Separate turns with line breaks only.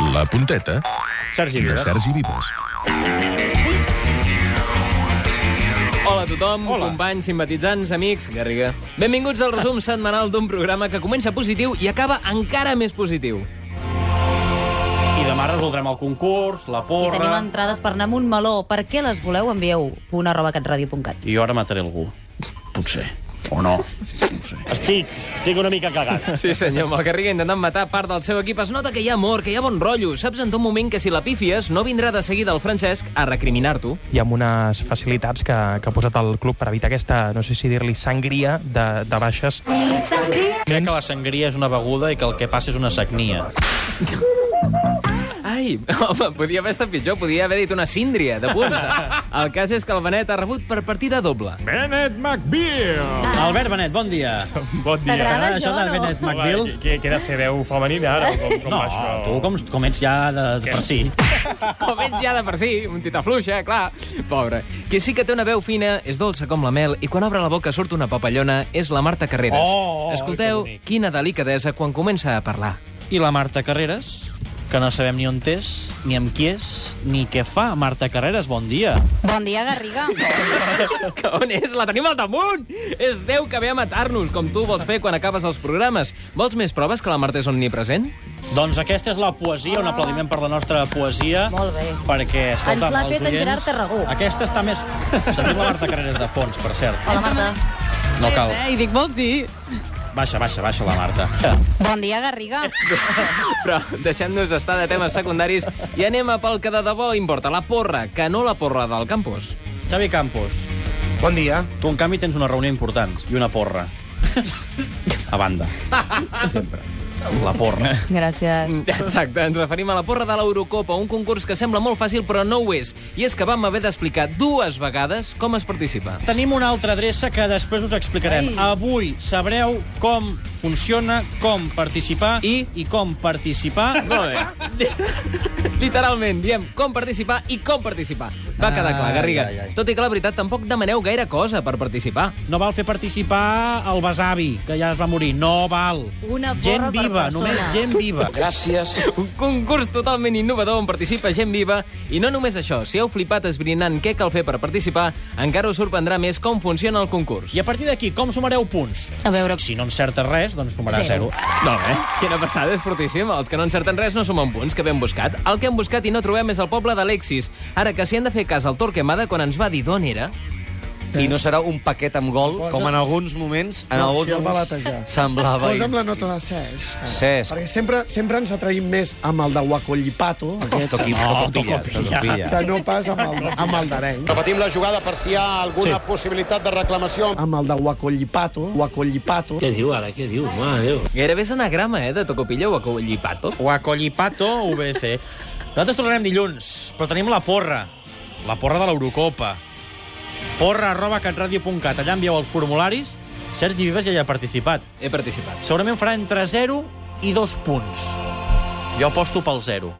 La Punteta
Sergi
i de
Vives.
Sergi Vives.
Hola a tothom,
Hola.
Hola. companys, simpatitzants, amics, Garriga. Benvinguts al resum setmanal d'un programa que comença positiu i acaba encara més positiu.
I demà resoldrem el concurs, la
I tenim
porra...
entrades per anar amb un meló. Per què les voleu? Envieu una arroba catradio.cat.
I jo ara mataré algú. Potser. O no.
Estic, estic una mica cagat.
Sí, senyor, amb el Garriga intentant matar part del seu equip es nota que hi ha amor, que hi ha bon rotllo. Saps en tot moment que si la pifies no vindrà de seguida el Francesc a recriminar-t'ho.
i amb unes facilitats que, que ha posat el club per evitar aquesta, no sé si dir-li, sangria de, de baixes.
Crec que la sangria és una beguda i que el que passa és una sagnia.
Ai, home, podia haver estat pitjor, podia haver dit una síndria de punts. El cas és que el Benet ha rebut per partida doble.
Bennett McBeal!
Ah. Albert Benet, bon dia.
Bon dia.
T'agrada
Això
això,
de
no?
Benet McBill?
Què, què he de fer veu femenina ara? o Com, com
No,
va això?
tu com, com ets ja de, de per si.
Com ets ja de per si, un tita fluixa, clar. Pobre. Qui sí que té una veu fina, és dolça com la mel, i quan obre la boca surt una papallona, és la Marta Carreras.
Oh, oh,
Escolteu,
que bonic.
quina delicadesa quan comença a parlar.
I la Marta Carreras, que no sabem ni on és, ni amb qui és, ni què fa. Marta Carreras, bon dia.
Bon dia, Garriga.
Que on és? La tenim al damunt! És Déu que ve a matar-nos, com tu vols fer quan acabes els programes. Vols més proves que la Marta és omnipresent?
Doncs aquesta és la poesia, un aplaudiment per la nostra poesia.
Molt bé.
Perquè, escolta,
Ens l'ha
els
fet en
oients-
Gerard Tarragó.
Aquesta està més... Sentim la Marta Carreras de fons, per cert.
Hola, Marta.
No cal.
Eh, I dic, vols dir?
Baixa, baixa, baixa la Marta.
Bon dia, Garriga.
Però deixem-nos estar de temes secundaris i anem a pel que de debò importa, la porra, que no la porra del campus.
Xavi Campos,
Bon dia.
tu en canvi tens una reunió important i una porra. A banda. Sempre. La porra.
Gràcies.
Mm, Exacte, ens referim a la porra de l'Eurocopa, un concurs que sembla molt fàcil però no ho és. I és que vam haver d'explicar dues vegades com es participa.
Tenim una altra adreça que després us explicarem. Ai. Avui sabreu com funciona, com participar
I?
i com participar.
Molt bé. Literalment, diem com participar i com participar. Va quedar clar, Garriga.
Ai, ai, ai.
Tot i que la veritat tampoc demaneu gaire cosa per participar.
No val fer participar el besavi, que ja es va morir. No val.
Una porra
gent
per
viva,
persona.
només gent viva.
Un concurs totalment innovador on participa gent viva. I no només això, si heu flipat esbrinant què cal fer per participar, encara us sorprendrà més com funciona el concurs.
I a partir d'aquí, com sumareu punts?
A veure,
Si no encertes res, doncs sumarà zero.
Zero.
Molt bé. Quina passada, és fortíssim. Els que no encerten res no sumen punts, que ben buscat. El que hem buscat i no trobem és el poble d'Alexis. Ara que si han de fer cas al Torquemada quan ens va dir d'on era...
I no serà un paquet amb gol,
Posa-
com en alguns moments, en
No,
alguns
si el va
moments
batejar.
semblava...
Posa'm la nota de Cesc. ara.
Cesc.
Perquè sempre, sempre ens atraïm més amb el de Guacollipato, aquest,
Toqui, no, tocopilla, tocopilla.
que no pas amb el, amb el d'Arenc.
Repetim la jugada per si hi ha alguna sí. possibilitat de reclamació.
Amb el de Guacollipato, Guacollipato.
Gairebé és anagrama, eh, de Tocopilla o a Collipato.
Guacollipato, VC. Nosaltres tornarem dilluns, però tenim la porra. La porra de l'Eurocopa. Porra arroba catradio.cat. Allà envieu els formularis. Sergi Vives ja hi ha participat.
He participat.
Segurament farà entre 0 i 2 punts. Jo aposto pel 0.